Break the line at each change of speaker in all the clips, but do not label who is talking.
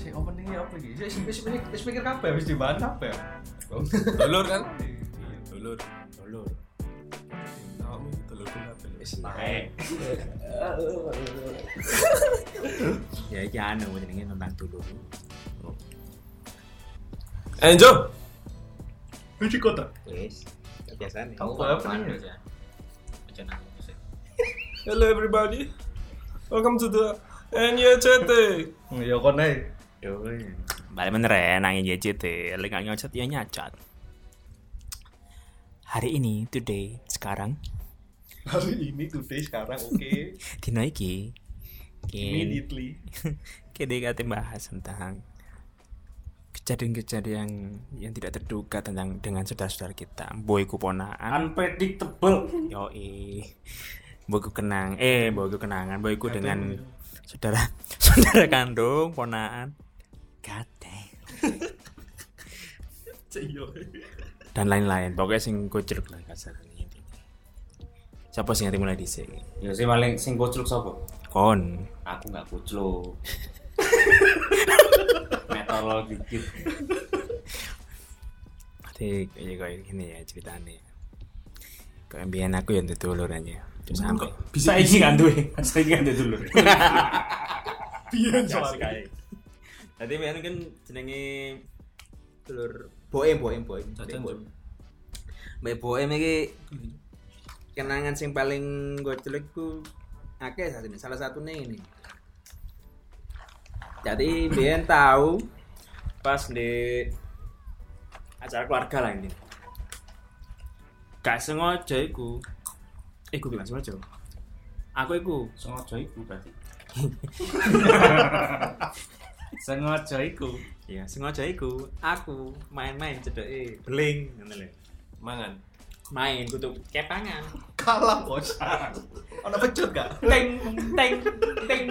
sih openingnya e apa iki? Sik wis wis- wis mikir kabeh wis dibahas kabeh.
Dulur kan?
Iya.
Dulur. Dulur. Kamu dulur kan
Wis naik.
ya iki anu jenenge tentang dulur
Enjo.
Uji kota.
wis biasane
Kamu kok apa nih?
aja aja nang musik
Hello everybody. Welcome to the NYCT.
Ya kon naik.
yo balik bener ya nang YCT lek gak nyocot ya nyacat hari ini today sekarang
Hari ini today sekarang oke.
dino iki kin
Immediately.
kene kate bahas tentang kejadian-kejadian yang tidak terduga tentang dengan saudara-saudara kita boy kuponaan
unpredictable
Yoi. Boyku kenang, eh boyku kenangan, boyku dengan saudara saudara kandung, ponaan. God damn. Dan lain-lain, pokoknya sing kucruk lah kasarane intinya. Siapa sih yang mulai dhisik?
ya sih paling sing kucluk sapa
Kon.
aku nggak kucluk metalol dikit
Jadi ya kayak gini ya ceritanya. Kayak mbiyen aku yang dulur aja. Terus sampai.
bisa ini kan tuh saya kan tuh dulu
Pian
Sekali. Tadi mbiyen kan jenenge dulur boem boem boem. Boem. Mbak Boem
Iya.
iki kenangan sing paling gojlek ku akeh salah satunya salah satunya ini. Jadi biyen tahu pas di acara keluarga lah ini. Gak sengaja iku. Eh, gue bilang sengaja. Aku iku
sengaja iku berarti sengaja iku
ya sengaja iku aku main-main cedeki beling ngono lho.
Mangan.
Main kutu kepangan.
Kalah bos. Ana pecut gak?
teng teng teng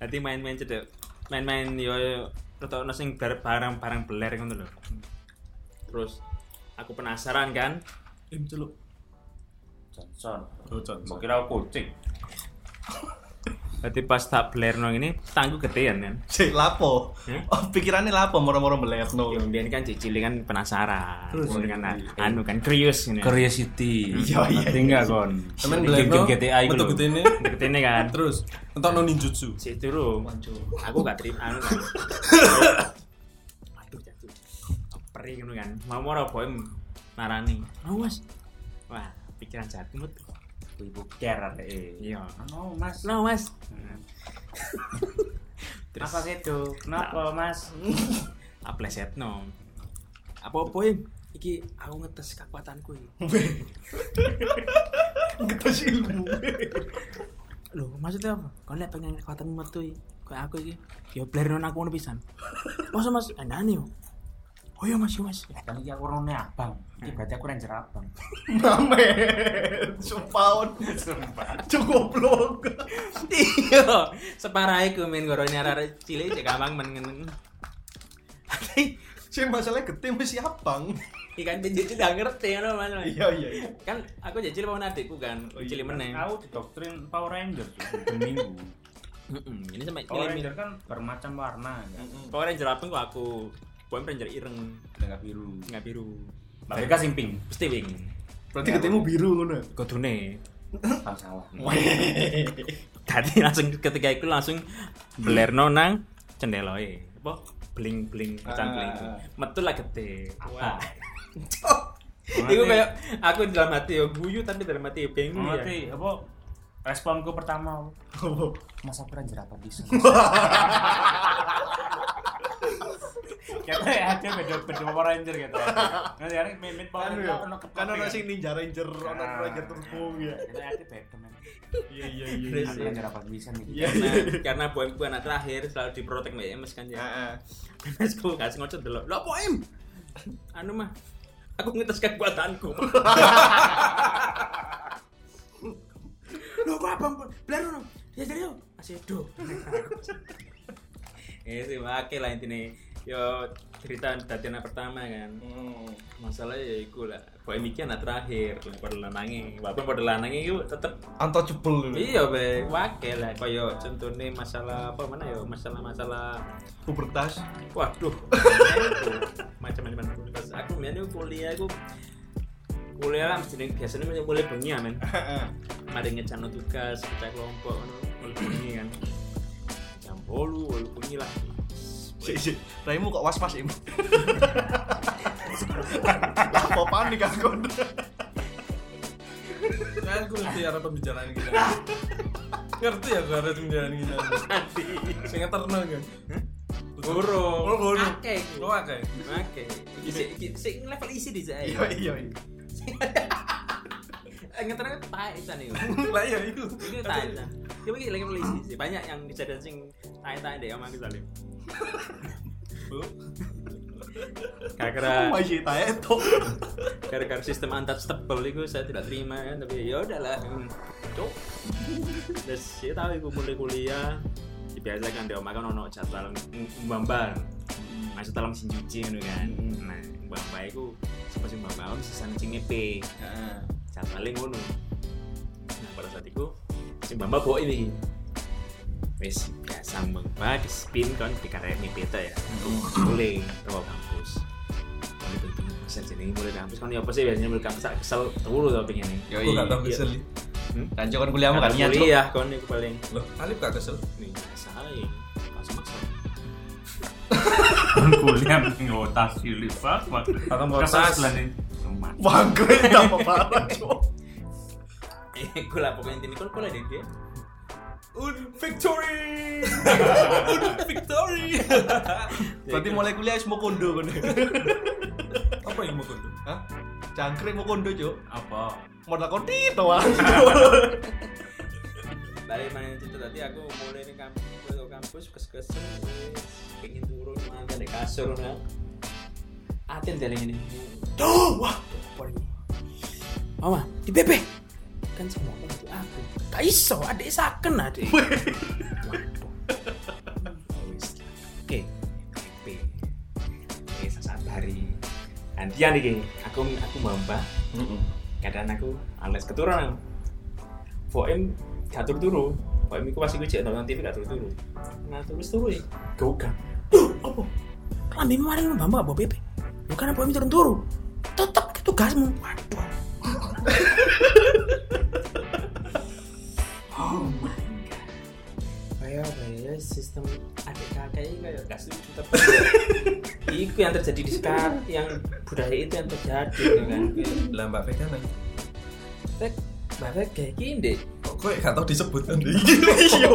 nanti main-main cedek main-main yo yo ketok ono sing bar- barang-barang beler ngono lho terus aku penasaran kan
Im celuk.
Johnson
Oh, Johnson.
mau kira aku kucing
berarti pas tak belerno ini tangku gedean kan
Sik lapo.
Hmm?
Oh, pikirannya lapo moro-moro
yo
melerno.
mbiyen kan cicili kan
Oh.
penasaran
Terus? Iya.
Ngono kan anu kan krius ini
curiosity
Iya, iya,
ngerti nggak kon
Temen
Jadi
Blendo.
GTA iku
Betul
lho.
betul ini.
gedene kan
Terus entokno ninjutsu.
sik dulu
Wancu.
aku gak terima anu kan aduh jatuh pering ngono kan mau mau boy marani awas wah pikiran jatuh metu
ibu care eh
iya
Oh mas,
no mas
kenapa gitu?
Nah.
Kenapa mas?
apleset no apa boy iki aku ngetes kekuatanku ini
Ngetes ilmu.
lho maksudnya apa kau lihat pengen kekuatan metu iki. kayak aku iki ya bler non aku ngono pisan masa mas andani yo oh iya mas Hmm. iya mas
Kan iki aku rone abang. Iki berarti aku ranger abang.
Mamer. Sumpahon. Cukup blok.
iya separah iku men gorone arek cilik cek gampang men ngene
Sih masalahnya gede mesti abang.
ikan jejil udah ngerti ngono mas
Iya iya. iya.
kan aku jejil mau adikku kan cilik meneh
Oh, iya. Aku didoktrin Power Ranger tuh per minggu.
Mm-mm, ini sampai
Power
cilik
Ranger kan bermacam warna ya.
Power Ranger apa kok aku Power Ranger ireng
Tengah biru.
nggak biru
Mereka sing pink.
mesti wing
Berarti ketemu biru ngono.
kodone
Ah salah.
tadi langsung ketika itu langsung blerno nang cendeloe apa bling bling pecahan
Ah.
bling metu lah gede Ah.
Apa?
Iku kayak aku dalam hati ya guyu tapi dalam hati ya bingung ya.
Ngerti apa? Responku pertama Mas aku ranger apa bisa? Kita ya aja beda beda Power Ranger gitu. Nanti hari mimin Power
Kan
Ranger
ya.
ono
Kan
ketopi,
ono
kan?
sing Ninja Ranger, ono
Ah.
Ranger Turbo ya.
Kita aja beda men.
Iya iya
Terus,
Aku ranger apa bisa nih?
Iya.
gitu. karena karena boem ku anak terakhir selalu diprotek mbak Emes kan ya.
Heeh.
Emes ku kasih ngocot dulu. Lo boem. Anu mah aku ngetes kekuatanku. Lo kok abang belar lo. Ya jadi lo Iya masih do. Eh sih wakai lah intinya. Yo cerita tatiana pertama kan
Hmm.
masalahnya ya iku lah boem iki anak terakhir lah pada lanange walaupun pada lanange iku tetep
Untouchable dulu.
iya be wakil lah koyo contohnya masalah apa mana ya masalah-masalah
Pubertas.
Waduh. Macam-macam universitas. Aku mbiyen itu kuliah aku kuliah lah jeneng biasanya masih kuliah bengi ya, men. Mari ngecano tugas, kita kelompok ngono, kuliah bengi kan. Jam 8 kuliah bengi lah.
Sik sik. Raimu kok was-was im. Lah kok panik aku.
Kan aku ngerti arah pembicaraan kita. ngerti ya gue arah pembicaraan kita. Sing eterno kan.
Guru.
Oh, guru.
Akeh.
Lo akeh.
Oke. Iki sik iki sik level isi di saya.
Iya iya. iya.
Ngeternya tae jan iku.
Lah ya itu.
Iki tae jan. Iki iki level isi sih. Banyak yang kejadian sing tae-tae deh omang Salim.
Oh
Kira-kira
Masih tanya itu.
gara-gara sistem untouchable itu saya tidak terima kan tapi ya udahlah cuk terus saya tahu iku mulai kuliah dibiasakan dia makan ono jadwal mbambang masuk dalam sinjuji gitu kan nah mbambang itu siapa sih mbambang itu sisa ngecing EP jadwalnya ngono nah pada saat itu si mbambang bawa ini wes biasa mbambang di spin kan di karya beta ya mulai ke kampus mulai penting bisa jadi mulai kampus kan ya apa sih biasanya mulai kampus tak kesel terlalu tau pengen nih
Yo
Gue gak tau
iya.
kesel.
Kancu kan kuliahmu kan niat Cuk.
kuliah kan aku paling
Loh, Alif gak kesel.
nih salah ya langsung maksa
kuliah ngotas silifas
Pakai ngotas.
Bangke tambah parah Cuk.
eh gue lah pokoknya intinya kalau kuliah deh dia
Un victory. Un victory.
Ya,
Berarti mulai kuliah wis mau kondo kan.
Apa yang mau kudu?
Hah? Cangkrik mau kondo Cuk.
apa
Modal kondi to wae.
dari mana itu tadi aku mulai di kampus ke kampus kes kesel wes. pengen turun mangga di kasur nah aten dari ini tuh wah apa ini mama di BP kan semua orang itu aku gak iso adik saken adik waduh Wes. oke BP oke saat hari gantian nih aku aku mbak kadang aku alias keturunan Voim gak turu turu Voim itu pasti gue cek nonton TV gak turu turu nah terus turu ya gue kan duh apa kelambi kemarin lu bambang bawa BP lu kan Voim turun turu tetap ke tugasmu waduh oh my god kayak kayak sistem adik kakak ini kayak gak setuju tapi itu yang terjadi di sekarang yang budaya itu yang terjadi gitu kan
Lah Mbak Vega nang.
Tek, bahkan kayak gini deh
Kok gue gak tau disebut kan?
Iya,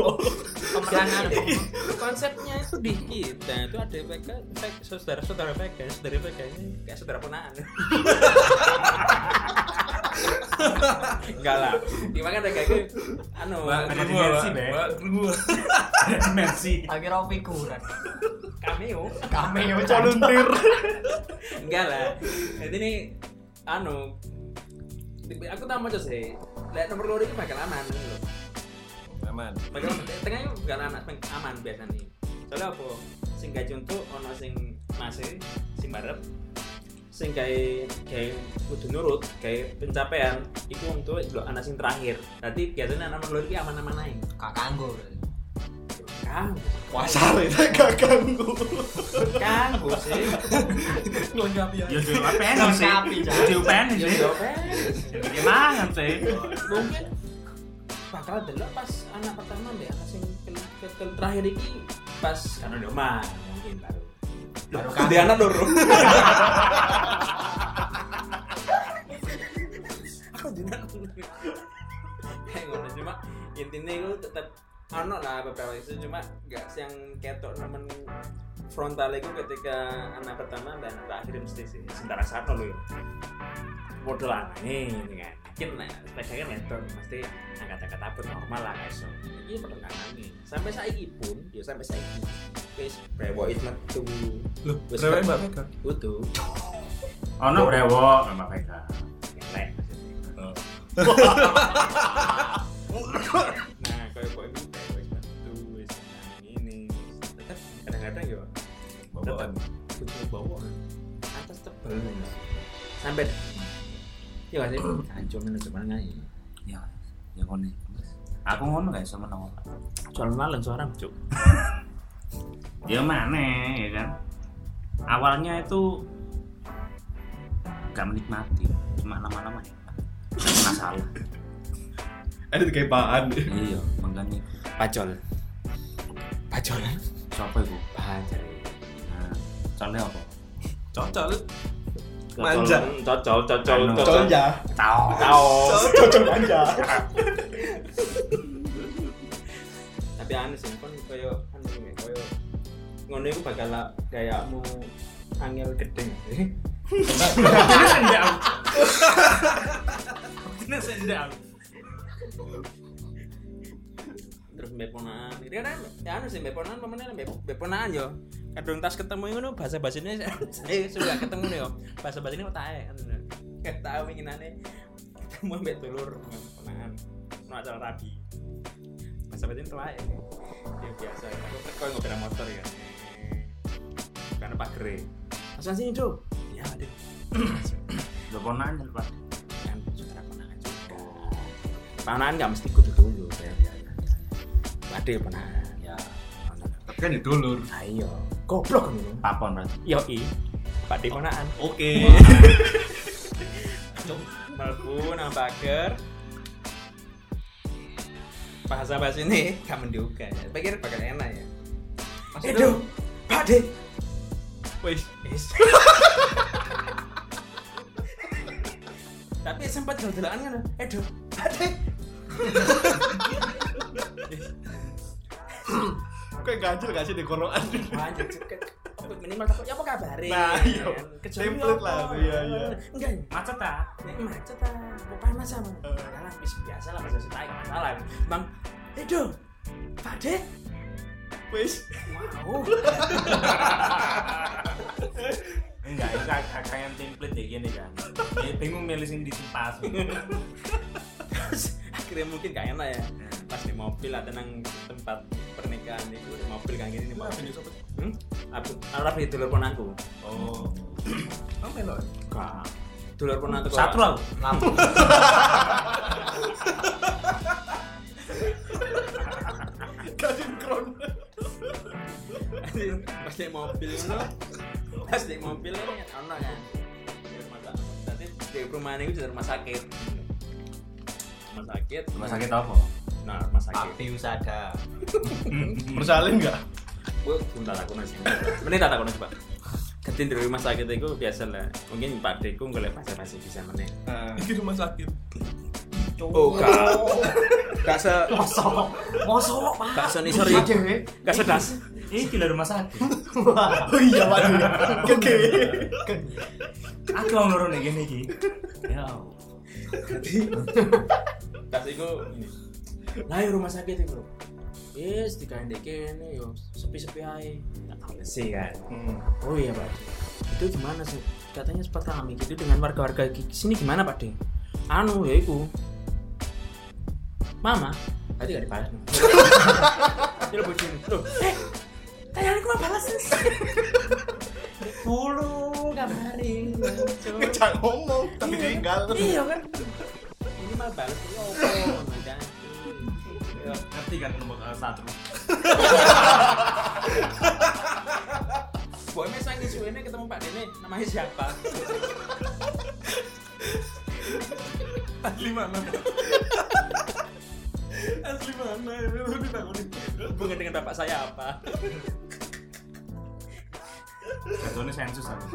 Pematangan. konsepnya itu di kita itu ada PK PK, saudara-saudara ya, PK saudara PK ini kayak saudara ponaan enggak lah gimana ada kayak gitu anu
Ada
Guru gua,
dimensi,
Mbak.
Be.
Mbak, guru gua.
dimensi
akhirnya aku figuran
cameo
cameo
Volunteer.
enggak lah jadi ini anu aku tak mau sih lihat nomor lori itu bakal aman gitu loh.
Aman.
Padahal tengah itu bukan anak peng aman biasanya nih. Soalnya apa? Sing gak contoh ono sing masih sing barep sing gawe gawe kudu nurut, gawe pencapaian iku untuk lo anak sing terakhir. Berarti biasanya anak nomor loro iki aman-aman ae.
kakanggo
Kang,
Wasar itu gak ganggu.
kang sih.
Ngelengkapi ya.
Iya,
ya di UPN sih
Lengkapi, Cak.
di UPN
Ya
sih
oke.
jadi gimana sih
Mungkin bakal delok pas anak pertama mbek anak sing ke- ke- ke- terakhir iki pas karena di omah mungkin baru.
Baru
Loh, gede anak loro. aku juga kayak ngono cuma intinya itu tetap ono lah beberapa itu cuma gak sih yang ketok nemen frontal itu ketika anak pertama dan anak terakhir mesti sih sementara satu loh ya bodoh lah nih ini kan mungkin nah mereka kan ketok mesti angkat-angkat apa normal lah guys so, ini pertengahan nih sampai saiki pun ya sampai saiki guys brewo itu tuh
Loh,
Wes,
rewel
Mbak.
Mbak Vega.
utuh
ono brewok sama mereka
Ngelek maksudnya. nah kayak kok ini kayak wis bantu wis ini, ini tetap kadang-kadang ya, yo
Bawaan.
butuh bawa Iya gak sih? Anjung ini cuman ngai.
Ya, ya ngono. Aku ngono gak iso meneng.
Soal malam suara cuk.
Ya mana ya kan. Awalnya itu gak menikmati, cuma lama-lama nikmat. Gak masalah.
Ada kayak pahan.
Iya, makanya
Pacol. Pacol.
siapa iku?
Pacol.
Nah, soalnya apa?
Cocok lu.
Manja. Cocol, cocol,
Anu.
cocol.
Ya.
Conja.
Tahu.
Taos.
Cocok manja.
Tapi aneh sih kan koyo aneh ya, koyo ngono iku bakal lah gayakmu angel gede nggak sih?
Ini sendal. Ini sendal.
terus beponaan ini kan ya anu sih beponaan pemenang beponaan yo kadung tas ketemu ngono bahasa bahasa ini saya sudah ketemu nih yo bahasa bahasa ini otak ya nggak tahu inginannya ketemu mbak telur beponaan no acara rabi bahasa bahasa ini otak ya biasa ya aku teko ngobrol sama motor ya karena pagre mas sini dong ya ada
Udah pernah aja, Pak.
kan saudara ponakan juga ponakan nggak mesti kudu dulu ya ada ya ponakan ya
Tapi kan ya dulur.
ayo goblok nih
Papon berarti.
yo i pak di ponakan
Oke.
melbu nang pager bahasa bahasa ini gak menduga ya pikir bakal enak ya itu pak de
Wes.
Is. tapi sempat jalan-jalan kan edo pak de
Kayak ganjel gak sih di koroan?
Anjir, ceket. Apa minimal takut ya apa kabarin?
Nah, iya.
Kecuali
Template
apa?
lah tuh, iya, iya.
Enggak,
Macet ah.
nek macet ah. Apa panas sama?
Eh.
Masalah bis- biasa lah bahasa Sita enggak masalah. Bang, Edo. Pade.
Wes.
Wow.
Enggak, itu kayak kayak template ya gini kan. Ya, bingung milih sing diisi pas.
Terus akhirnya mungkin gak enak ya. Pas di mobil atau nang tempat pernikahan itu di mobil kayak gini nih. Pak. Hmm? Aku Arab itu dulur ponanku.
Oh. Kamu melo.
Enggak.
Dulur ponanku. kok.
Satu aku.
pas di mobil itu pas di mobil itu ono kan di rumah sakit Berarti di rumah ini di rumah sakit rumah sakit
Rumah sakit apa?
nah rumah sakit
usada.
Bersalin enggak?
gue tak takut nasi mending tak takut nasi pak ketin di rumah sakit itu biasa lah mungkin pak deku nggak bahasa bahasa bisa meneh
Eh.
Iki rumah sakit.
oh kak kak se
Mosok. Mosok, Pak.
kak se nih sorry kak sedas
Ini gila rumah sakit.
Oh iya, waduh. Oke.
Aku mau nurun ya gini iki. Ya.
kak se itu lah ya rumah sakit itu Yes, tiga ndek ini yo sepi-sepi aja. Tak tahu sih kan. Oh iya Pak De. Itu gimana sih? Katanya sempat kami gitu dengan warga-warga di sini gimana Pak De? Anu ya iku. Mama, tadi gak dibalas. Dia lebih sini. Tuh. Eh. Tadi aku mah balas. Bulu kabarin. Cuk.
Kecak ngomong, tapi
Iya.
tinggal.
Iya kan. Ini mah balas ya opo.
Ngerti kan nomor eh, satu.
Boy mes nang isuene ketemu Pak Dene namanya siapa?
Asli mana? Asli mana? Lu dibangunin.
Hubungan dengan bapak saya apa?
Jatuhnya sensus aku.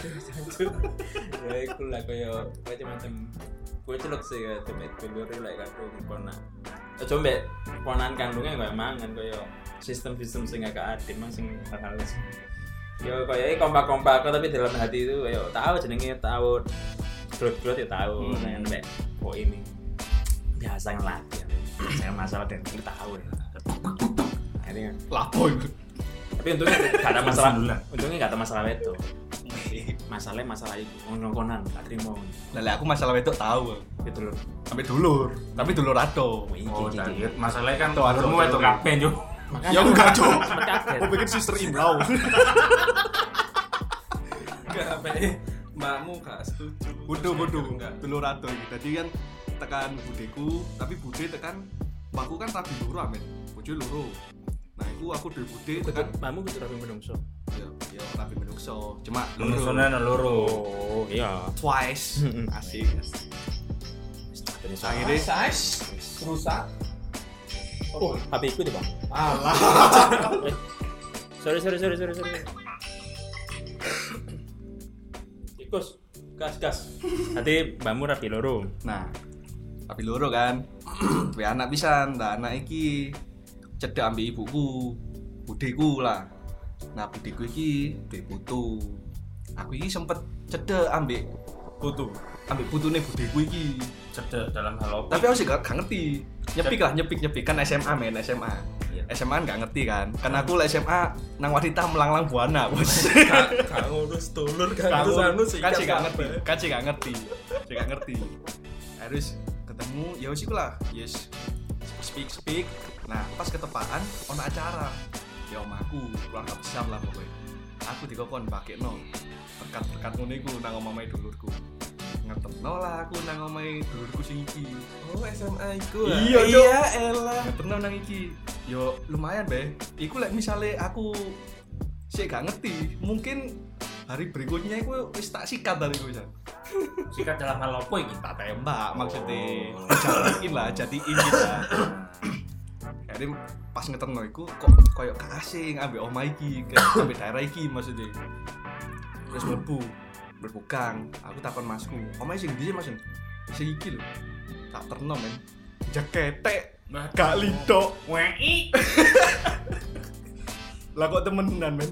Hancur. ya iku lah kaya macam-macam gue celok sih ya tempat dulur lah kadung ponak aja mbek ponan kandungnya kaya mangan kaya sistem-sistem sing agak adem mang sing hal-hal sing- ya kaya kompak-kompak tapi dalam hati itu kaya tahu jenenge tahu grot-grot ya tahu
Hmm.
nek mbek kok ini biasa ngelatih ya. saya masalah dan ini tahu ya akhirnya
Lapo itu.
tapi untungnya gak ada masalah
Sundulan.
untungnya gak ada masalah itu masalahnya masalah itu ngono-ngonan gak terima
Lah aku masalah wedok tahu.
itu loh
Sampai dulur, tapi dulur ato.
Oh,
iya,
tadi masalahnya kan
Tuh, Iya, aduh,
kamu itu
aduh.
kapan yo?
makanya
Ya enggak, Cok.
sempet kaget
Aku pikir sister in law.
Enggak apa-apa. mbakmu gak setuju.
Budu budu
Enggak.
telur rado iki. Dadi kan tekan budeku, tapi bude tekan mbakku kan rabi loro amen. Bojo loro. Nah, iku aku duwe bude tekan
Mamu kudu rapi menungso.
ya ya rabi menungso. Cuma
Lurusnya loro.
Oh, iya.
twice. Asik. Akhirnya
Size rusak.
Oh, HP ku deh, Bang. Alah. sorry, sorry, sorry, sorry, sorry. Tikus, gas, gas. Nanti mbakmu rapi loro.
Nah, tapi loro kan. Tapi anak pisan, nah anak iki cedek ambil ibuku, budeku lah. Nah, budeku iki duwe putu. Aku iki sempet cedek ambil
Butuh.
ambil putune budeku iki.
Cedek dalam hal apa?
Tapi aku sih gak, gak ngerti. Nyepik lah, nyepik nyepik kan SMA men, SMA. SMA kan gak ngerti kan. Karena aku lah SMA nang wanita melanglang buana, Bos.
Gak gak ngurus dulur, gak ngurus anu sih.
kan sih gak ngerti kan sih gak ngerti sih gak ngerti harus ketemu ya wis iku lah yes speak speak nah pas ketepaan ono acara ya om aku keluarga besar lah pokoknya aku dikokon pakai no berkat berkat ngono iku nang omah dulurku ngeterno lah aku nang omah dulurku sing iki
Oh, SMA iku. ah.
iya iya elah ngeterno nang iki yo lumayan be iku lek misale aku sih gak ngerti mungkin hari berikutnya aku wis tak sikat dari iku Jan.
Sikat dalam hal apa ini?
tak tembak maksudnya jadiin lah jadiin gitu jadi pas ngeterno iku kok koyok gak asing ambil oma iki ke- ambil daerah iki maksudnya terus mlebu mlebu gang aku takon masku oma sing ndi sih mas sing iki lho tak terno men jakete gak lido
Wei.
lah kok temenan men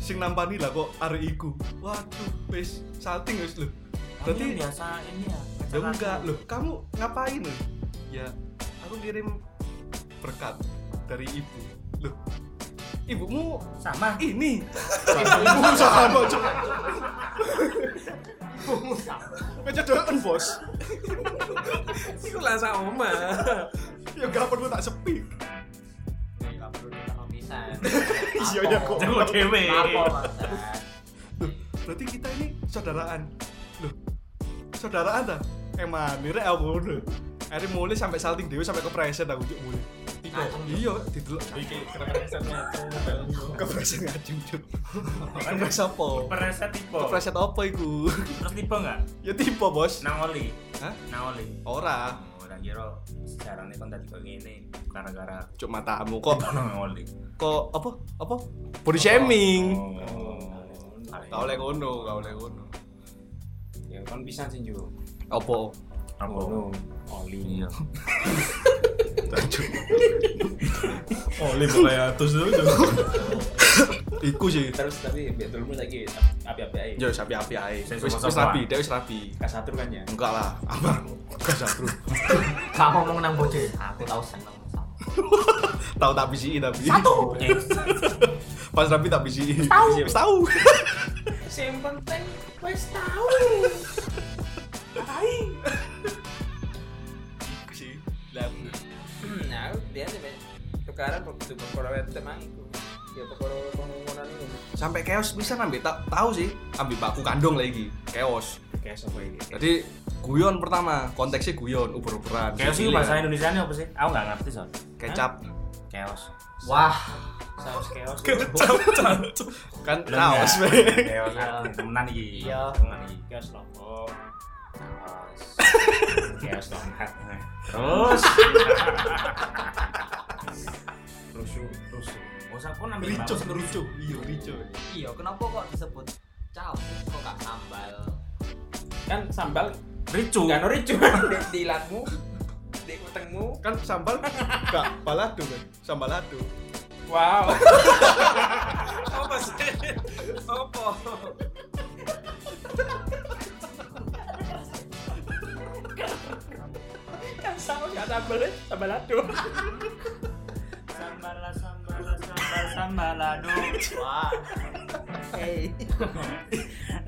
sing nampani lah kok arek iku waduh wis salting wis lho berarti
Berarti biasa ini ya.
Ya enggak, loh kamu ngapain loh? Ya, aku kirim berkat dari ibu. Loh, ibumu
Sama.
ini. ibumu sama cok. Ibumu sama. Kecedoan bos.
Iku lah sak omah.
Ya gak perlu tak sepi.
Enggak perlu kita pisan.
Iya ya kok.
Jago dewe.
Apa, Bangsa?
Loh, berarti kita ini saudaraan. Loh, saudaraan dah. Emang nire aku ngono. Akhirnya mulai sampai salting dewe sampai kepreset aku cuk mulai. Tiga. Iya, didelok.
Iki keren-keren
Kepreset ngajung cuk. Kepreset apa?
Pereset tipe.
Kepleset apa iku?
Terus tipe enggak?
ya tipe bos.
Nah.
Nang oli.
Hah?
Nang oli.
Ora,
Oh, tak kira sejarahnya kan tadi kok ngene gara-gara
cuk matamu kok
nang oli.
kok apa apa body shaming. Gak
Oh.
oleh ngono, gak oleh ngono.
Ya kan pisan sih, Ju.
Apa?
Apa? iya.
Oli.
Oh, lima kayak atus dulu.
Iku sih.
Terus tapi mbek dulurmu saiki api-api ae.
Yo sapi api ae.
Saya
Wis
sama-sama.
wis rapi, dia wis rapi.
Kasatur kan ya.
Enggak lah, apa? Gak sabru.
Gak ngomong nang bojo. Aku tahu seneng sama.
Tahu tak bisi tapi.
Satu.
Pas rapi tak bisi.
Tahu.
Wis tahu.
Sing penting wis tahu. Tai.
Iku sih. Lah,
Nah, aku dia nih, Mbak. tukaran gitu, waktu perkara wete mang iku. Ya perkara pengumuman iku.
sampai keos bisa ngambil tak tahu sih. Ambil bakku kandung lagi. Keos.
Kayak sapa iki?
Jadi guyon pertama, konteksnya guyon, uber-uberan.
Chaos itu
Sicilia.
bahasa Indonesia apa sih? Aku nggak ngerti soal.
kecap
Chaos.
Wah,
Saus chaos.
kan
Belum ya?
kaos
Chaos.
Iya.
ah, Temenan iki.
Iya.
Temenan iki. Chaos lombok. Chaos donat. Terus. Rusuh, rusuh. Oh, aku nambah
rico rico iya rico
iya kenapa kok disebut caos? Kok gak sambal?
Kan sambal
Ricu.
Gak no ricu Di- di latmu di kutengmu
kan sambal gak balado kan sambalado
wow
Apa sih? Apa?
kan sama gak sambal sambal lado
Sambala, sambala, sambal, sambala, aduh.
Wah. Hei.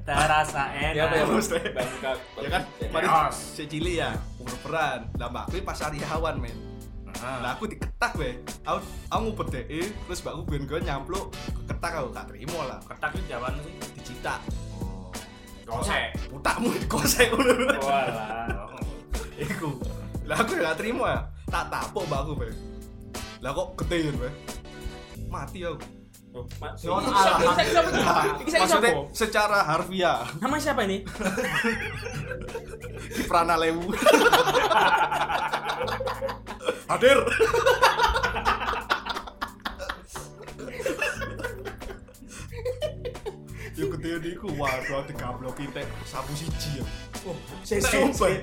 Terasa enak.
ya Iya apa ya bos
Maksudnya?
bangka
ya kan mari
Keos.
secili ya uber-uberan lah mbakku ini pas hari hawan men
Ah.
lah aku diketak weh aku aku ngumpet deh terus mbakku guyon guyon nyampluk ketak aku gak terima lah
Ketak itu jawaban sih.
dicita
Kosek.
Utakmu dikosek ngono.
Oh.
Walah.
Iku. Lah aku ya gak terima ya. Tak tapok mbakku, Pak. Lah kok gede ya, Pak? Mati aku.
Oh,
Maksudnya secara harfiah
Nama siapa ini?
di Lewu. Hadir. Yuk gede ya, iku waduh digabloki tek sabu siji ya. Sumpah.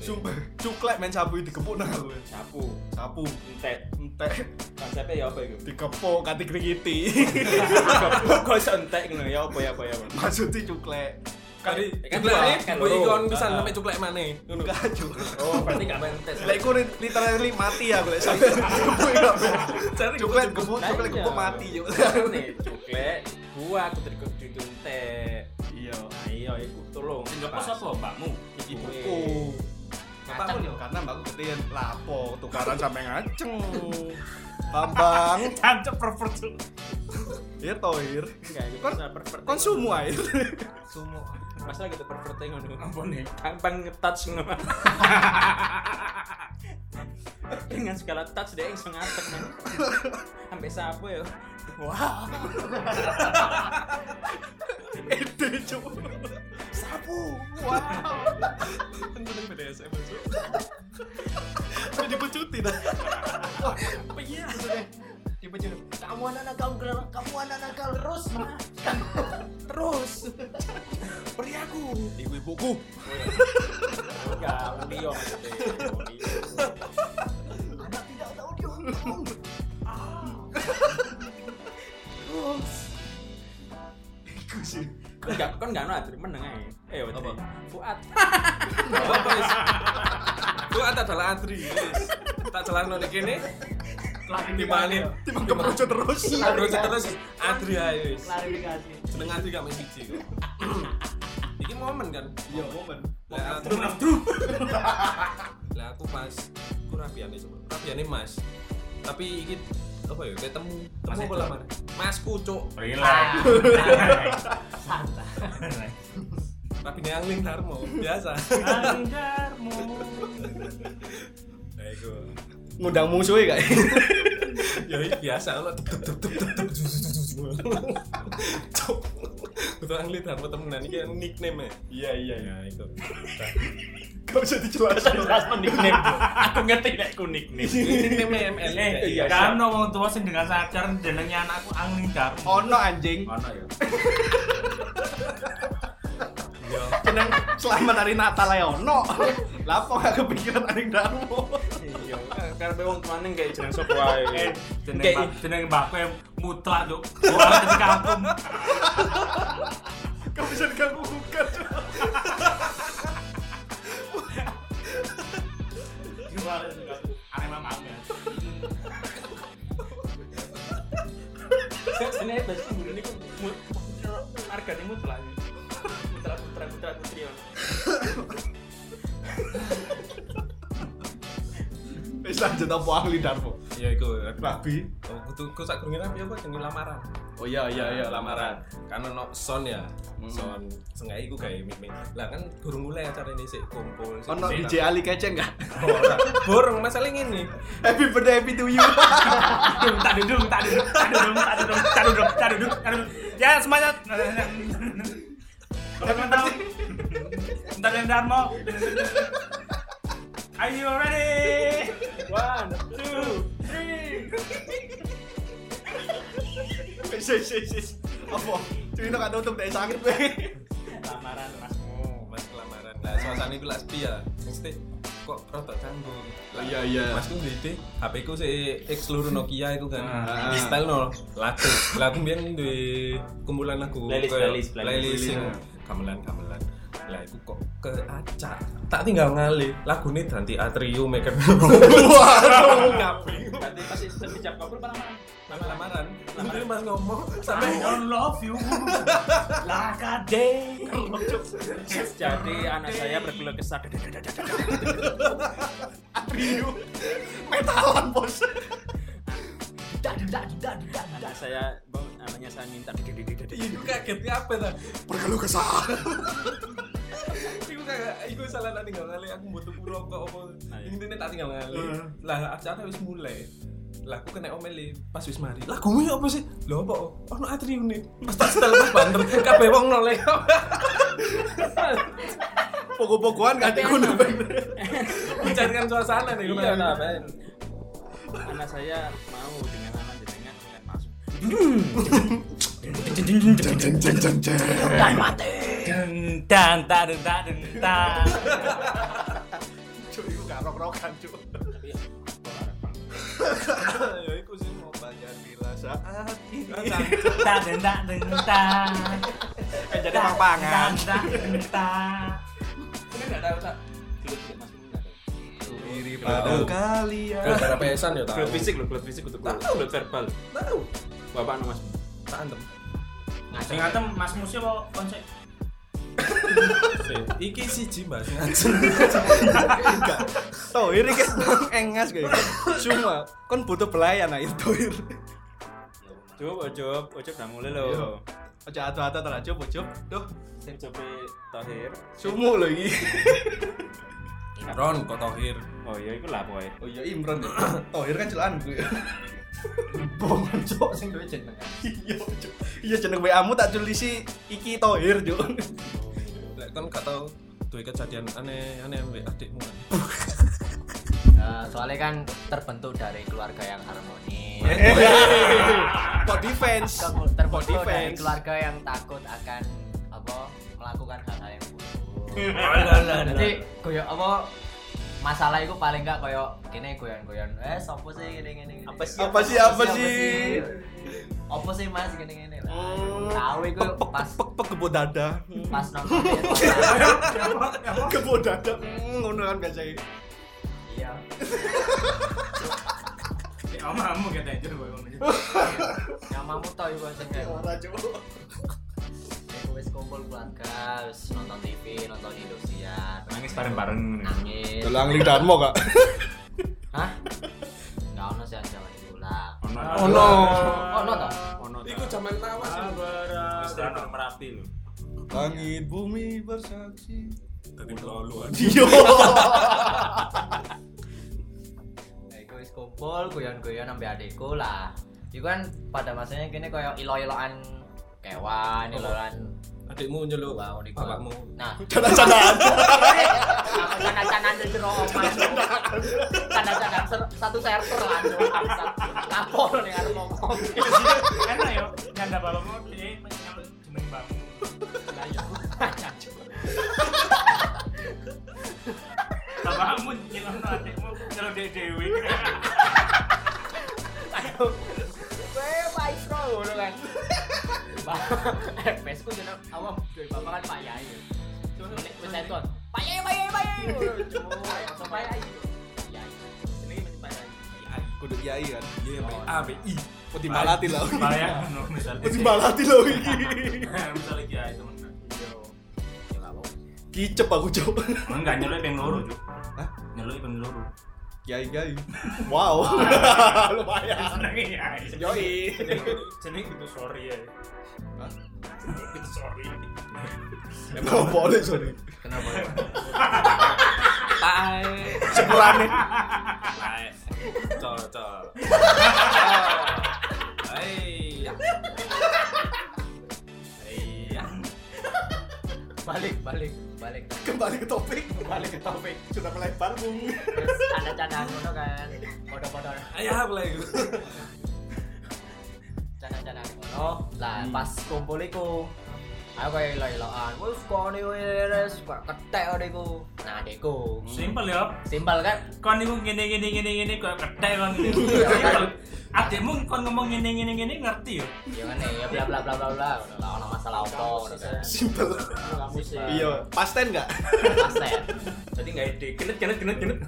Sumpah, cuklek men sabu dikepuk nang aku.
Sapu,
Sapu
entek.
entek
Konsepnya ya apa itu?
dikepuk kate krikiti.
Kok iso entek ngono ya apa ya apa ya. apa?
Maksudnya cuklek.
Kali cuklek
Kan dua,
ini
kan
bagi
loro.
kawan pisan
Ah.
sampai cuklek mana?
Enggak cuklek.
Oh, berarti gak main tes.
Lek iku ri- literally mati ya lek saya. Gepuk ya.
Cari
Cuklet
Oh,
gebuk, cuklet gebuk mati yo.
iya. Nih, cuklek. Gua aku tadi dituntek.
Iya.
Nah, iya iku tolong.
Singapura
Pas.
siapa? Mbakmu.
Ibuku.
Oh.
Ngaceng yo.
Karena mbakku gedean lapo tukaran sampe ngaceng. Bambang,
Tancap perform.
Ir toir.
Enggak, iku
Kon-
masalah pervert.
Kon sumu air.
Masalah gitu pervert ngono.
Ampun nih.
Gampang nge-touch ngono. Dengan segala touch dia yang sengatek men. Sampai sapu ya. Wah,
Ede cuk. Sabu. Wow.
BDSM.
Jadi dipecuti dah.
Kamu anak nakal, ger- kamu anak nakal terus. Ma.
terus.
Beri aku. Ibu-ibuku.
Enggak, Leo maksudnya. Leo.
Anak tidak tahu diuntung.
Iku sih.
Kon enggak kon enggak ana Adri meneng ae. Eh, Adri.
Apa?
Fuad.
Apa wis? Fuad adalah Adri. wis. Tak celano ning kene. Timbangin.
Timbang kepecut terus.
Terus terus Adri ayo wis.
Klarifikasi.
Jeneng Adri gak main siji kok. Iki momen kan.
Iya, momen.
Lah aku Lah aku pas aku rabiane coba. Rabiane Mas. Tapi iki apa ya ketemu
Mas
temu apa
Edo.
lah Mas kucuk
Relax.
Santai.
rabine Angling Darmo biasa.
Anggarmu.
Nah iku.
Ngundang musuhnya gak?
Ya iki biasa lo tuk tuk tuk tuk tuk tuk, tuk, tuk, tuk. Cuk. Kutu Angling Darmo temenan iki nickname-e.
Iya, iya,
Ya itu.
Gak usah dijelasin.
Jelas nickname. Aku ngerti lek ku nickname.
Nickname ML.
Eh,
Iya,
kan wong tua sing dengan sadar jenenge anakku Angling Darmo.
Ono anjing.
Mana ya?
Yo.
Jeneng Iya. selamat hari Natal ya ono. Lapo gak kepikiran anjing darmo.
Iya, karepe wong tuane kayak jeneng sapa wae.
Eh, jeneng
Kayak-
mbak, jeneng mbakku yang mutlak, Cuk. Orang di kampung.
Gak bisa diganggu gugat.
Aneh banget.
Jenenge bahasa guru niku mut margane mutlak. Mutlak putra putra putri. ya.
Wis lanjut apa ahli darmo?
Ya iku.
Rabi.
Oh, kutu kutu sak kurungin apa ya kok jenenge lamaran.
Oh iya iya iya
Ya, lamaran karena no son ya
Hmm.
son sengai iku kayak mimik lah kan gurung mulai acara ini sih kumpul sik-
Ono
sik-
DJ Ali kece gak?
Oh, ora. burung masalah ini
Happy birthday happy to you.
Dung, tak dudung, tak dudung, tak dudung, tak dudung, tak dudung, tak dudung, tak dudung. Ya, semuanya. Kalau teman tahu, bentar yang Darmo. Are you ready?
One, two.
Wis wis wis, wis. Apa? Cuy nak nutup dari sakit be.
Lamaran Masmu.
Oh, mas lamaran lah suasana iku lah sepi ya mesti kok rada canggung Lah,
Iya, iya.
mas ku ngide HP ku sih X seluruh Nokia iku kan
Ah.
di style no lagu lagu biar di kumpulan lagu
Playlist,
kayak
playlist, playlist.
playlist sing gamelan gamelan lah iku kok keacak tak tinggal ngalih lagu ini ganti atrium make
Waduh.
Berarti pasti setiap couple apa lamaran?
lamaran lamaran mas ngomong sampai
I don't love you. Like a day.
Jadi anak saya berkeluh kesah.
Atriu. Metalan bos.
Dadu, dadu, dadu, dadu,
Anak
dadu.
saya bang, namanya saatnya saya minta Didididididid.
Iku kaget ya apa ta?
Berkeluh kesah.
Iku kagak iku salah tak tinggal ngalih aku butuh rokok apa.
Nah, iya.
Intine tak tinggal ngalih.
Heeh.
Lah acara wis mulai. Lah aku kena omeli pas wis mari. Lah gue apa sih? Lho apa? Ono atriune. Pas tak setel pas banter kabeh wong noleh.
Pokok-pokokan gak ada guna bener.
Mencairkan suasana nih
Iya,
gimana?
nah, Ben. anak saya mau dengan anak jenengan dan masuk
Jeng jeng jeng jeng jeng.
Dentang, tak dentang, dentang.
Cuk, iku gak rok-rokan, cuk.
tapi ya,
Ya iku sih mau
Banyak bila saat ini.
Tak dentang, dentang.
Eh, jadi pang-pangan.
Dentang, dentang.
nggak tahu tak gelut ya, Mas, nggak tahu.
Diri pada kalian.
Gara-gara pesan ya tahu.
Gelut fisik loh gelut fisik untuk
Tak
gelut
tahu.
gelut verbal
Tahu.
bapak anu mas
Tak antem.
Sing ngatem Mas Musi apa konsep?
Iki siji Mbak.
Enggak. Tohir iki nang engas kayak. Cuma kon butuh belayan ae tohir.
coba coba coba udah mulai loh
Ojo atu-atu teracu bocok. Duh,
saya coba tohir
sumu lho iki.
Ron kok Tohir.
oh iya itu lah boy
Oh iya Imron. Tohir kan celaan gue.
Bongan cok sing duwe jenengan.
kan.
Iya, Cuk. Iya jeneng WA-mu tak tulisi iki Tohir, Cuk.
Lek kon gak tau duwe kejadian aneh-aneh ambek adikmu. kan?
Eh, soalnya kan terbentuk dari keluarga yang harmonis
Kok defense?
Kamu terbentuk
Body
dari
fans.
keluarga yang takut akan apa melakukan hal-hal yang buruk jadi koyo apa masalah itu paling enggak koyo kene goyon-goyon eh sopo sih gini gini gini. apa
sih, apa sih, apa sih?
apa sih mas gini gini lah tahu itu
Oh. Pek
pas
pek pek kebo dada.
pas nonton di sekolah.
Kebo dada. Mm, Ngono kan biasa.
iya
Omamu kata anjir gue ngomong gitu.
namamu tau iku sing kayak
Ora, Cuk.
Aku wis kumpul keluarga, wis nonton TV, nonton Indosiar,
Nangis bareng-bareng.
nangis.
Delang lidanmu, Kak.
Hah? Enggak ono sih ancaman itu lah.
ono
Ono.
Ono toh?
ono
Iku zaman lawas.
Bareng-bareng.
merapi loh
Langit bumi bersaksi.
Tadi lalu
Dio.
Ya, Iku wis kumpul, guyon-guyon sampe adekku lah. Iku kan pada masanya kene koyo ilo-iloan kewan, ilo-iloan
Adikmu nyeluk
Wow, di-
bapakmu.
Nah,
Canda-candaan.
sama canan-canan di jero omah. Canan-canan ser- satu server lah. Kapol nih arep ngomong.
Enak yo, nyanda balamu dia menyambut jeneng bamu.
Lah ya.
Bapakmu nyelam adikmu nyelam dia dewi.
Weh, maestro ngono kan. Pesku jeneng awam dari bapak kan Pak Yai. Cuma nek wis enton. Pak Yai, Pak Yai, Pak Yai. Cuma Pak Yai. Yai. Ini masih Pak Yai.
Kudu kiai kan.
Iya, B A B I.
Peti balati lho.
Bayang no misalnya.
Peti balati lho iki.
Misalnya dia itu menang.
Ya lah, Bang.
Kicep aku, Cuk.
Enggak nyeluk yang loro, Cuk.
Hah?
Nyeluk yang loro.
Kiai-kiai. Wow. Lumayan. Yoi.
Jeneng itu sorry ya.
Hah?
Itu sorry.
Emang boleh, sorry.
Kenapa?
Sepulane.
Cocok. Hei. Hei.
Balik, balik, balik.
Kembali ke topik. Kembali ke topik. Sudah melebar, Bung.
Terus ada candaan ngono kan. Podo-podo
Ayah mulai iku.
candaan-candaan ngono. Lah pas kumpul iku Aku kayak ilo-iloan, wes kau nih wes ketek adekku, nah adekku,
Simpel ya.
simpel kan,
kon niku ngene ngene ngene ngene kok ketek kon niku. Adekmu kon ngomong ngene ngene ngene ngerti yo.
ya kan ya bla bla bla bla bla udah lah ono masalah apa ngono
ya.
kan
Simple.
kamu sih
Iya, pasten enggak?
pasti
jadi nggak ide genet genet genet genet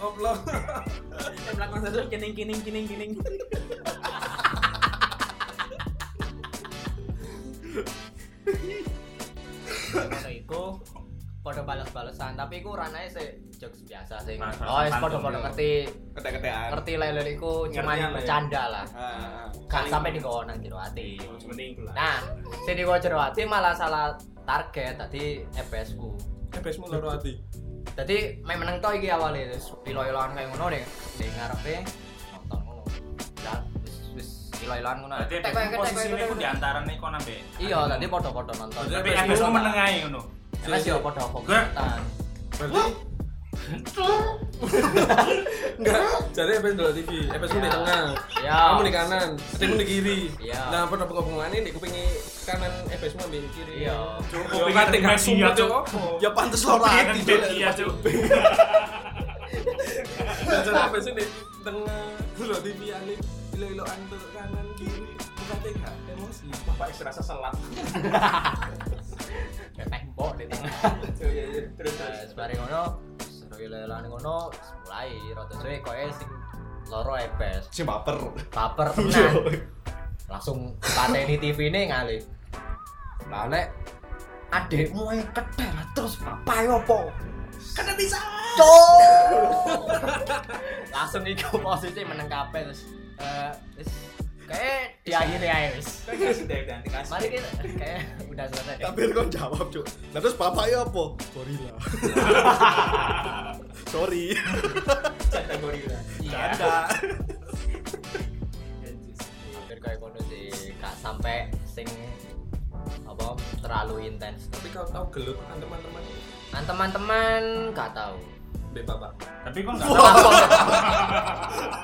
Oblong.
belakang satu kining kining kining kining ngono iku podo bales-balesan, tapi iku ranane sih jokes biasa sih.
Nah,
Oh, wis
pantun
podo-podo
ya.
ngerti,
ketek-ketekan
ngerti lele iku cuman
Ngerti lah ya.
bercanda lah.
Ah,
Gak sampai di nang jero ati.
Iya.
mending lah
Nah, sing di jero ati malah salah target tadi FPS ku.
FPS mu loro ati.
Dadi main meneng to iki awale terus pilo-piloan kaya ngono ning ning ngarepe nonton ngono. Lah wis wis pilo-piloan ngono.
berarti
Tek, tek, tek, tek,
posisinya
tek,
ku
tek.
diantara nih kau nambe
Iya, tadi podo-podo nonton.
Berarti
tapi
FPS
FPS
ku
ku menengahi ngono
Mas yo podo fokusan.
Berarti Enggak, jadi FPS dulu TV, FPS mu di
Ya.
tengah.
Ya.
Kamu di kanan, kamu di kiri.
Ya.
Nah, pada pengobongan ini kupingi kanan FPS mu ambil kiri.
Iya.
Cukup
Kupingi
kate
terkesi, ya,
kasih
Cuk.
cok.
ya pantas loro ati Cuk.
ya,
iya tuh
Jadi FPS mu di tengah, dulu TV ane ilo-ilo antar kanan kiri. Bukan enggak emosi. Bapak X rasa selap.
Tembok di tengah.
Terus
Terus bareng ngono, seru lelan ngono, terus mulai rada suwe koe sing loro epes.
si baper
Baper
Iya.
tenan. Langsung pateni TV ini ngali. Lah lek adekmu ae ketel terus e papai opo? Kena bisa. Langsung iku posisi meneng kabeh terus eh wis kayak diakhiri ae wis.
kan
Mari kita kayak udah selesai.
tapi kan kau jawab cuk nah terus papa ya apa gorila sorry
Iya. hampir kayak ngono sih gak sampai sing apa terlalu intens
tapi kau tahu gelut kan teman-teman
nah teman-teman gak tahu
Be bapak.
tapi kau nggak
Salah apa nggak tahu.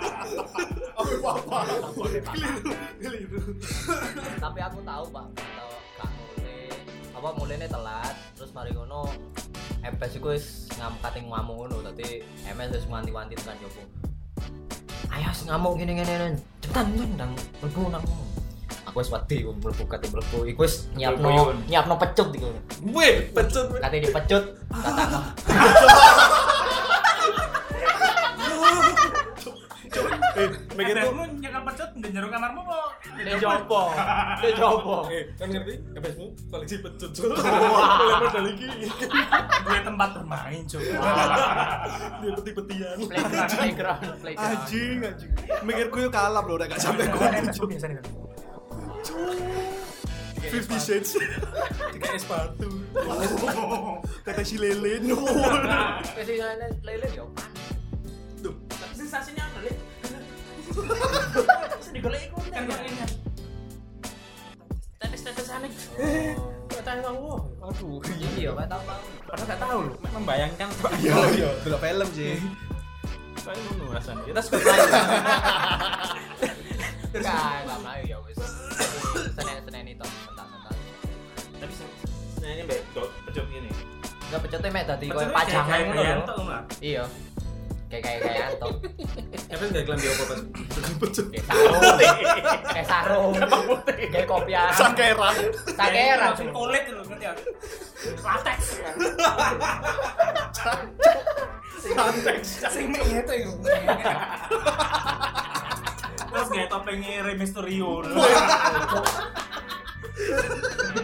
tapi aku tahu pak Gak tahu gak mulai apa mulainya telat terus mari ngono MS iku wis ngam kating ngamuk ngono dadi MS wis wanti-wanti tekan jopo ayo wis ngamuk ngene-ngene cepetan cepetan nang mlebu nang ngono. aku wis wedi iku mlebu kate mlebu iku wis nyiapno
Mlebu yun.
nyiapno pecut iku
Wih, pecut.
kate dipecut kata
mikir lu nyekap pecut nggak nyeruk kamarmu kok
Ini jopo. Ini jopo.
Eh, kan ngerti? FPSmu koleksi pecut. Mulai medal iki.
dua tempat bermain coba
Dia peti-petian.
Playground, playground, playground.
anjing anjing mikirku yuk kalap loh udah gak sampai kau
Cuk, biasa nih kan
Fifty Shades
Tiga sepatu.
kata si lele no
Terus ini ya, lele yo.
sensasinya apa lih sedih golek iku kan kok ini tetes-tetes aneh kok tanya wong
aduh
Iya, gak tahu tahu.
padahal gak tahu lho membayangkan
iya iya dulu film sih
Soalnya ngono rasanya. Kita suka tanya.
Terus kan enggak mlayu ya wis. Senen-senen itu bentar-bentar.
Tapi sebenarnya mbak dok pecuk ini.
Enggak pecete mek dadi koyo pajangan ngono lho.
lah.
Iya. Kayak kayak kayak to.
FPS nggak iklan di apa pas? Pecut.
Kayak sarung. Kayak sarung. Kayak kopi arang.
sakera
Sakera.
Tapi kulit lho ngerti ya. Latex.
konteks
Sing gitu mek itu iku. Terus gaya topengnya Rey Mysterio lho.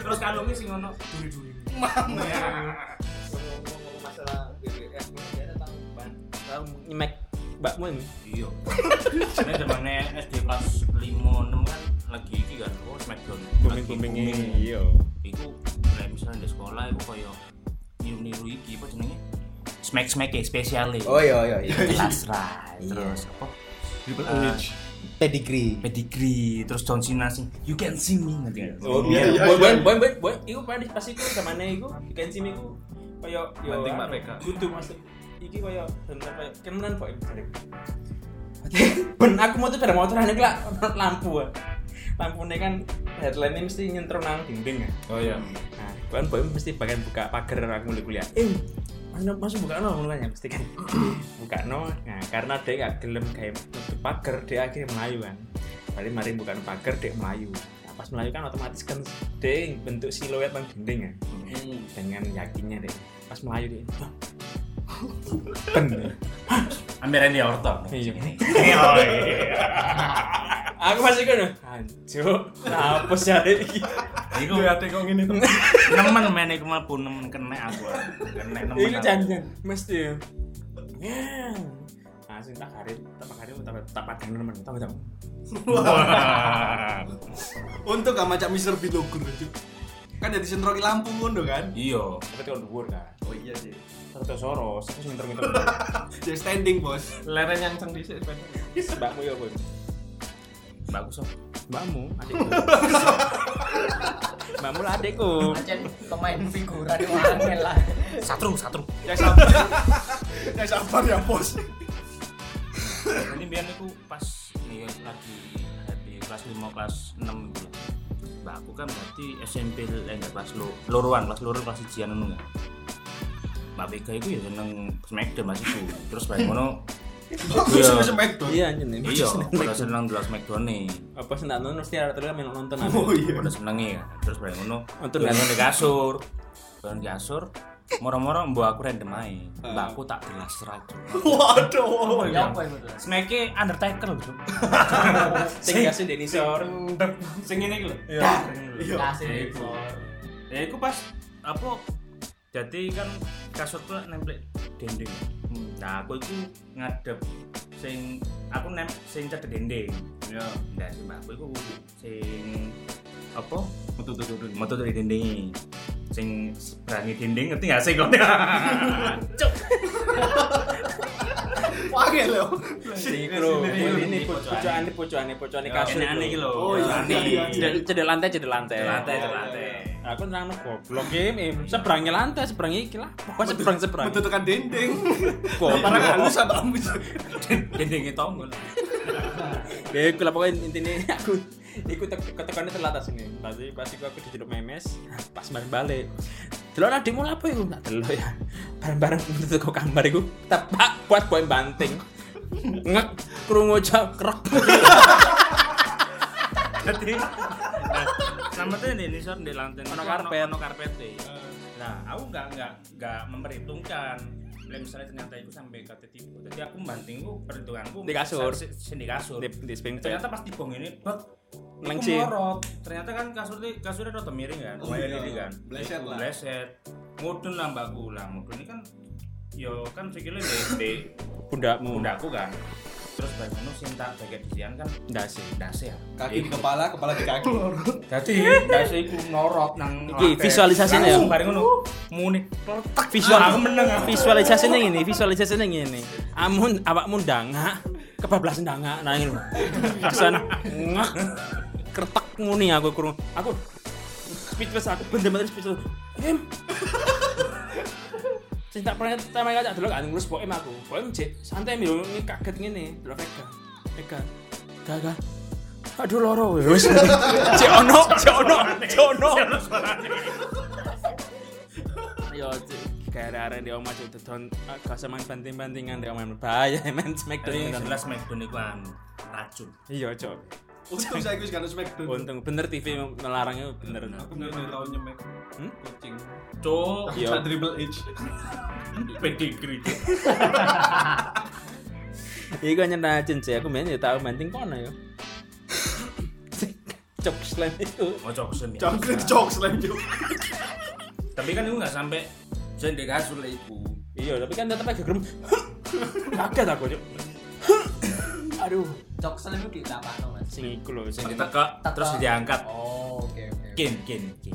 Terus kalungnya sing ngono duri-duri.
ngomong-ngomong masalah BBM ya tentang ban tahu nyemek mbakmu ini
Iya. Ini zamannya SD kelas 5 6 kan lagi iki kan oh Smackdown. Lagi booming.
iya
Iku kayak misalnya di sekolah iku koyo niru-niru iki apa jenenge? Smack-smack ya spesial ya.
oh iya iya iya
Jelas lah. Terus apa?
Triple
Ah.
H
pedigree
Pedigree terus John Cena sing you can see me nanti kan.
Oh,
iya,
iya,
boy,
iya.
boy, boy, boy, boy.
Iku pasti pasti iku zamane iku Genshin iku koyo yo
Penting, Pak
anu,
PK.
Kudu masuk iki koyo bener koyo kemenan kok iki jarek. Ben aku mau tuh pada motoran iki lah lampu. Lampune kan headline mesti nyentrum nang dinding ya.
oh iya
Nah, kan boy mesti bagian buka pagar aku mulai kuliah. Eh, Mas Nop, Mas buka no mulanya mesti kan. buka no. Nah, karena dia gak gelem kayak nutup pagar, dia akhirnya melayu kan. Mari mari bukan pagar dia melayu. Nah, pas melayu kan otomatis kan dia bentuk siluet nang dinding ya. Dengan yakinnya deh. Pas melayu dia. "Hah? Ben. Ambil Randy Orton. Iya. Aku masih kan. Hancur. Nah, apa sih ada iki?
Iku
Gue ate kok ngene to.
nemen men iku mlebu nemen kena aku. Kena nemen.
Iku
aku.
janjian Iya, mesti. Ya. Asing tak hari, tak hari, tak tak pakai teman, tak tak.
Wah.
Untuk gak macam Mr. Bilogur Kan jadi sentroki lampu ngono kan.
Iya.
Tapi kalau dhuwur kan.
Oh iya sih.
Terus soros, terus minter-minter.
Jadi standing bos.
Leren yang ceng dhisik sepeda.
Mbakmu ya, Bun.
Bagus kok.
Mbakmu, adikku. Mbakmu lah adikku.
Ancen pemain figuran yang angel lah.
Satru, satru.
Ya sabar. ya sabar ya bos.
Ini biar aku pas iya, lagi di kelas 5 kelas 6 gitu. lah. Mbak aku kan berarti SMP eh enggak kelas lo, loruan, kelas loruan kelas ujian ngono enggak. Mbak BK itu ya seneng Smackdown mas itu. Terus bareng ngono
Langsung ke Smackdown.
Iya, anjing.
iya, pada seneng dulu Smackdown nih.
Apa sih nonton mesti ada terus main nonton aja.
Oh iya.
Pada senenge ya. Terus bareng ngono
Nonton
dolan
nggak?
di kasur. Dolan di kasur. Moro-moro mbak aku random ae. Mbak aku tak gelas racun. Oh,
Waduh.
Ya
iya,
apa itu? Bro?
Snake Undertaker bro.
Sing kasih Denisor.
Sing ngene iki lho.
Iya.
Kasih
Iya.
info.
Ya iku pas apa jadi kan kasur tuh nempel dendeng.
Hmm.
Nah, aku itu ngadep sing aku nem sing cedek dendeng.
Iya.
Ya. Nah, sing aku iku sing apa? Metu-metu metu dari dendeng. Sing berani dendeng ngerti gak sih kok? Cuk.
Wah gelo.
Bro, ini pocokane pocokane pocokane kasur.
Ya, Ini aneh iki lho.
Oh, iya,
Aneh.
iya, iya.
Cedek- Cedek lantai, cedek lantai.
Lantai, lantai.
Aku nang nang goblok game, eh, seberangnya lantai, seberangnya iki lah. Pokoknya seberang seberang.
Menentukan dinding.
Goblok.
Parah halus apa ambus.
Dendengnya tonggol.
Ya iku lah pokoknya intinya aku iku tek ketekane terlatas ini. Pasti pasti aku dijeluk memes pas mari balik. Delok nang demo apa iku? Tak delok ya. Bareng-bareng metu kok kamar iku tepak buat poin banting. Ngek krungu cekrek.
Jadi, nah, sama tuh di Nisor di lantai
Ono karpet. Eh.
ono karpet deh. Nah, aku nggak nggak nggak memperhitungkan. Lah, misalnya ternyata itu sampai kata tipu, jadi aku bantingku perhitunganku
Di kasur.
sa- sa- di kasur.
Di di spring
Ternyata pas dibong ini, bak,
Mencing.
aku morot. Ternyata kan kasurnya kasurnya rada miring kan,
Oh,
lumayan
iya.
ini kan.
Bleset lah.
Bleset. Mudun lah mbakku lah, mudun ini kan, yo kan sikilnya di, di
pundakmu.
pundakku kan. Terus bagaimana cinta bagian disian kan,
Ndak sih.
dasi ya.
Kaki di kepala, kepala di kaki.
Dadi dasi iku ngorot nang
Iki,
lape.
visualisasinya ya?
Langsung bareng ngono. Muni kletek
Visual
aku meneng aku.
visualisasinya ini, visualisasinya ini. Amun awakmu ndangak, kebablasan ndangak nah ini. Rasane ngek kertek muni aku krungu. Aku speechless aku bener-bener speechless. Em. Sing tak pernah tak main kacak dulu kan ngurus boem aku. Boem jek santai mi ini kaget ngene, delok Vega. Vega. Gaga. Aduh loro wis. Cek ono, cek ono, cek ono. Yo, gara-gara dia omah itu don gak usah main banting-bantingan dia main bahaya main
Dadi
smackdown
jelas McDonald iku anu racun.
Iya, Cok.
Untung saya gue sekarang Smackdown.
Untung bener TV melarang itu bener.
Hmm?
Hmm?
Aku nggak tahu nyemek. Kucing.
Cuk,
Iya.
Triple H.
pedigree.
Iku nyenah sih aku main ya tau banting kono yo. Cok slam itu.
Mau joksen ya.
Jangkrik jokes lagi.
Tapi kan iku enggak sampai jen dek kasur lah iku.
Iya, tapi kan tetep aja gerem. Kaget aku, Cok. Aduh,
Cok selim itu diutamakan, Mas.
sing iku lho sing
Ditekek terus diangkat.
Oh, oke oke.
Kin kin kin.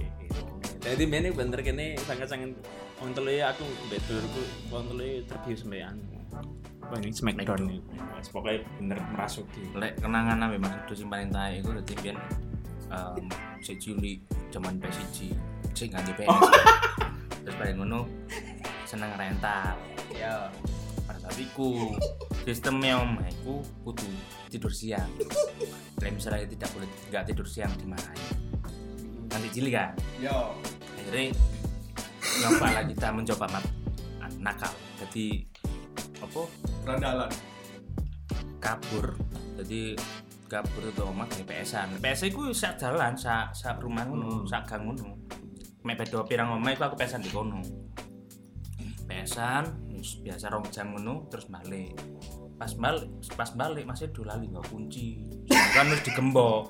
Jadi bener bener kene sangat-sangat ontele aku mbek dulurku ontele terbius mbek anu. Wah ini smackdown nih. Wes, Pokoknya bener merasuki.
Lek kenangan ambe Mas Dudu sing paling tae iku dadi pian em si Juli zaman PSG sing ganti PS.
Oh.
Terus bareng ngono seneng rental.
Ya.
pada saat itu sistemnya omahku kudu tidur siang dan misalnya tidak boleh nggak tidur siang dimarahin nanti cilik kan
Yo.
akhirnya nyoba lah kita mencoba mat nakal jadi apa
Berandalan.
kabur jadi kabur itu omah dari PSan PS ku sak jalan sak sak rumah ngono sak gang ngono mek beda pirang omah iku aku PSan di kono PSan wis biasa rong jam ngono terus balik pas balik pas balik masih dolali nggak kunci kan harus digembok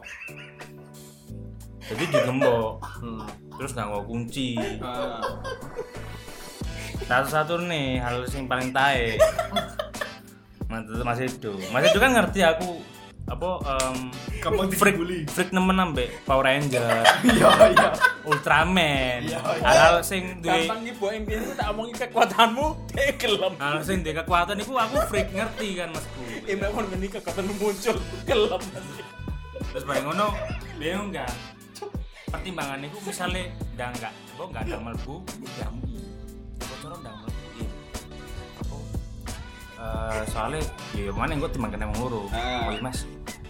jadi digembok terus nggak nggo kunci satu-satu nih hal yang paling tae Mas Mas Edo Mas Edo kan ngerti aku apa em
Kamu
freak
dibully.
freak nemen ambek Power Ranger
Iya,
Ultraman hal-hal sing
Iya,
duwe
Gampang nih Bu Em Biyen tak omongi kekuatanmu, dia gelem.
hal Nah, sing duwe kekuatan iku aku freak ngerti kan Masku
Em nek kon ngene kekuatanmu muncul, gelem.
terus bareng ngono bingung kan pertimbangan iku misale ndang enggak apa enggak ndang mlebu ya mungkin bocor ndang mlebu iya. Apa, eh soalnya ya mana engko timbang kena wong loro
Ah.
Woi, Mas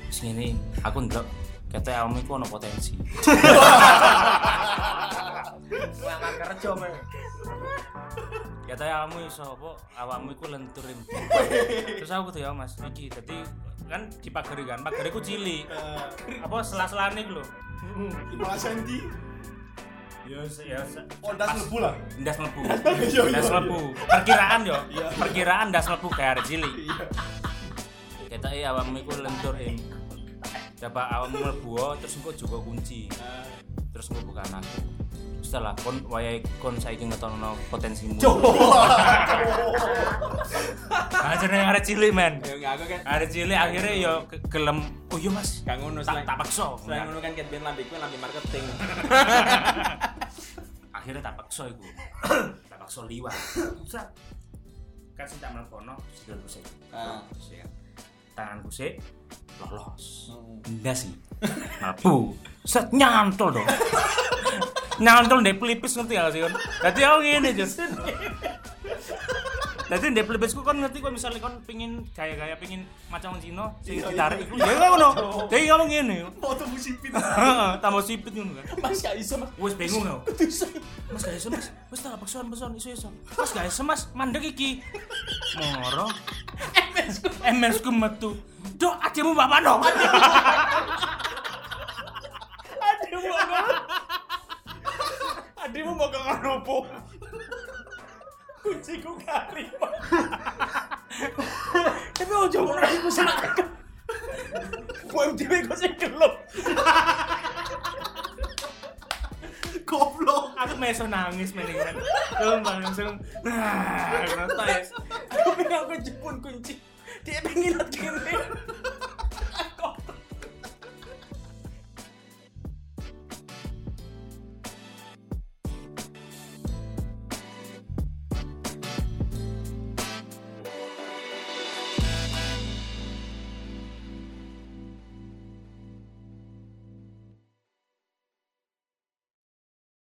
sini aku ndelok kata awakmu iku ono potensi
Semangat kerja men.
kata Ya, awakmu iso apa awakmu iku lenturin terus aku tuh ya Mas iki dadi kan dipagari kan pagari ku cilik apa selas-selane iku lho
Perasaan di
ya ya se-
Ondas lebu lah.
ndas mlebu ndas mlebu perkiraan yo perkiraan ndas mlebu kayak arek cilik kita iya awakmu iku lentur ing coba awakmu mlebu o, terus engko juga kunci terus engko bukan aku setelah kon wayahe kon saiki ngetono potensimu aja nih arek cilik men
Ya enggak aku kan
arek cilik akhirnya yo ke- gelem oh iya mas
gak ngono
tak tak paksa
Selain ngono kan ket ben lambe iku lambe marketing.
akhirnya tak paksa iku tak paksa liwat Set. kan sing tak mlebu sikilku sik
Ah.
Sik. tanganku sik lolos enggak sih mlebu set nyantol dong nyantol ndek pelipis ngerti gak sih kon dadi aku ngene jos dadi ndek pelipisku kon ngerti kon misalnya kon pengin gaya-gaya pengin macam Cina sing
Iya,
ditarik iku ya ngono
Oh.
dadi kamu ngene
Foto musipin.
Heeh, tambah sipit ngono kan
Mas gak iso Mas.
Wes bingung aku. Mas gak iso mas, wes tak pesan pesan iso iso. Mas gak iso mas, mandek iki. Moro. MS ku metu. Dok, ademu bapak dong.
Ademu apa? Ademu mau ke kono opo? Kunciku kari. Tapi ojo ngono iku sing akeh. Poem dhewe kok sing gelem.
Goblok.
Aku meso nangis mendingan. Terus langsung. Nah, nonton ya.
Aku pengen aku jepun kunci. Dia pengen lihat kene.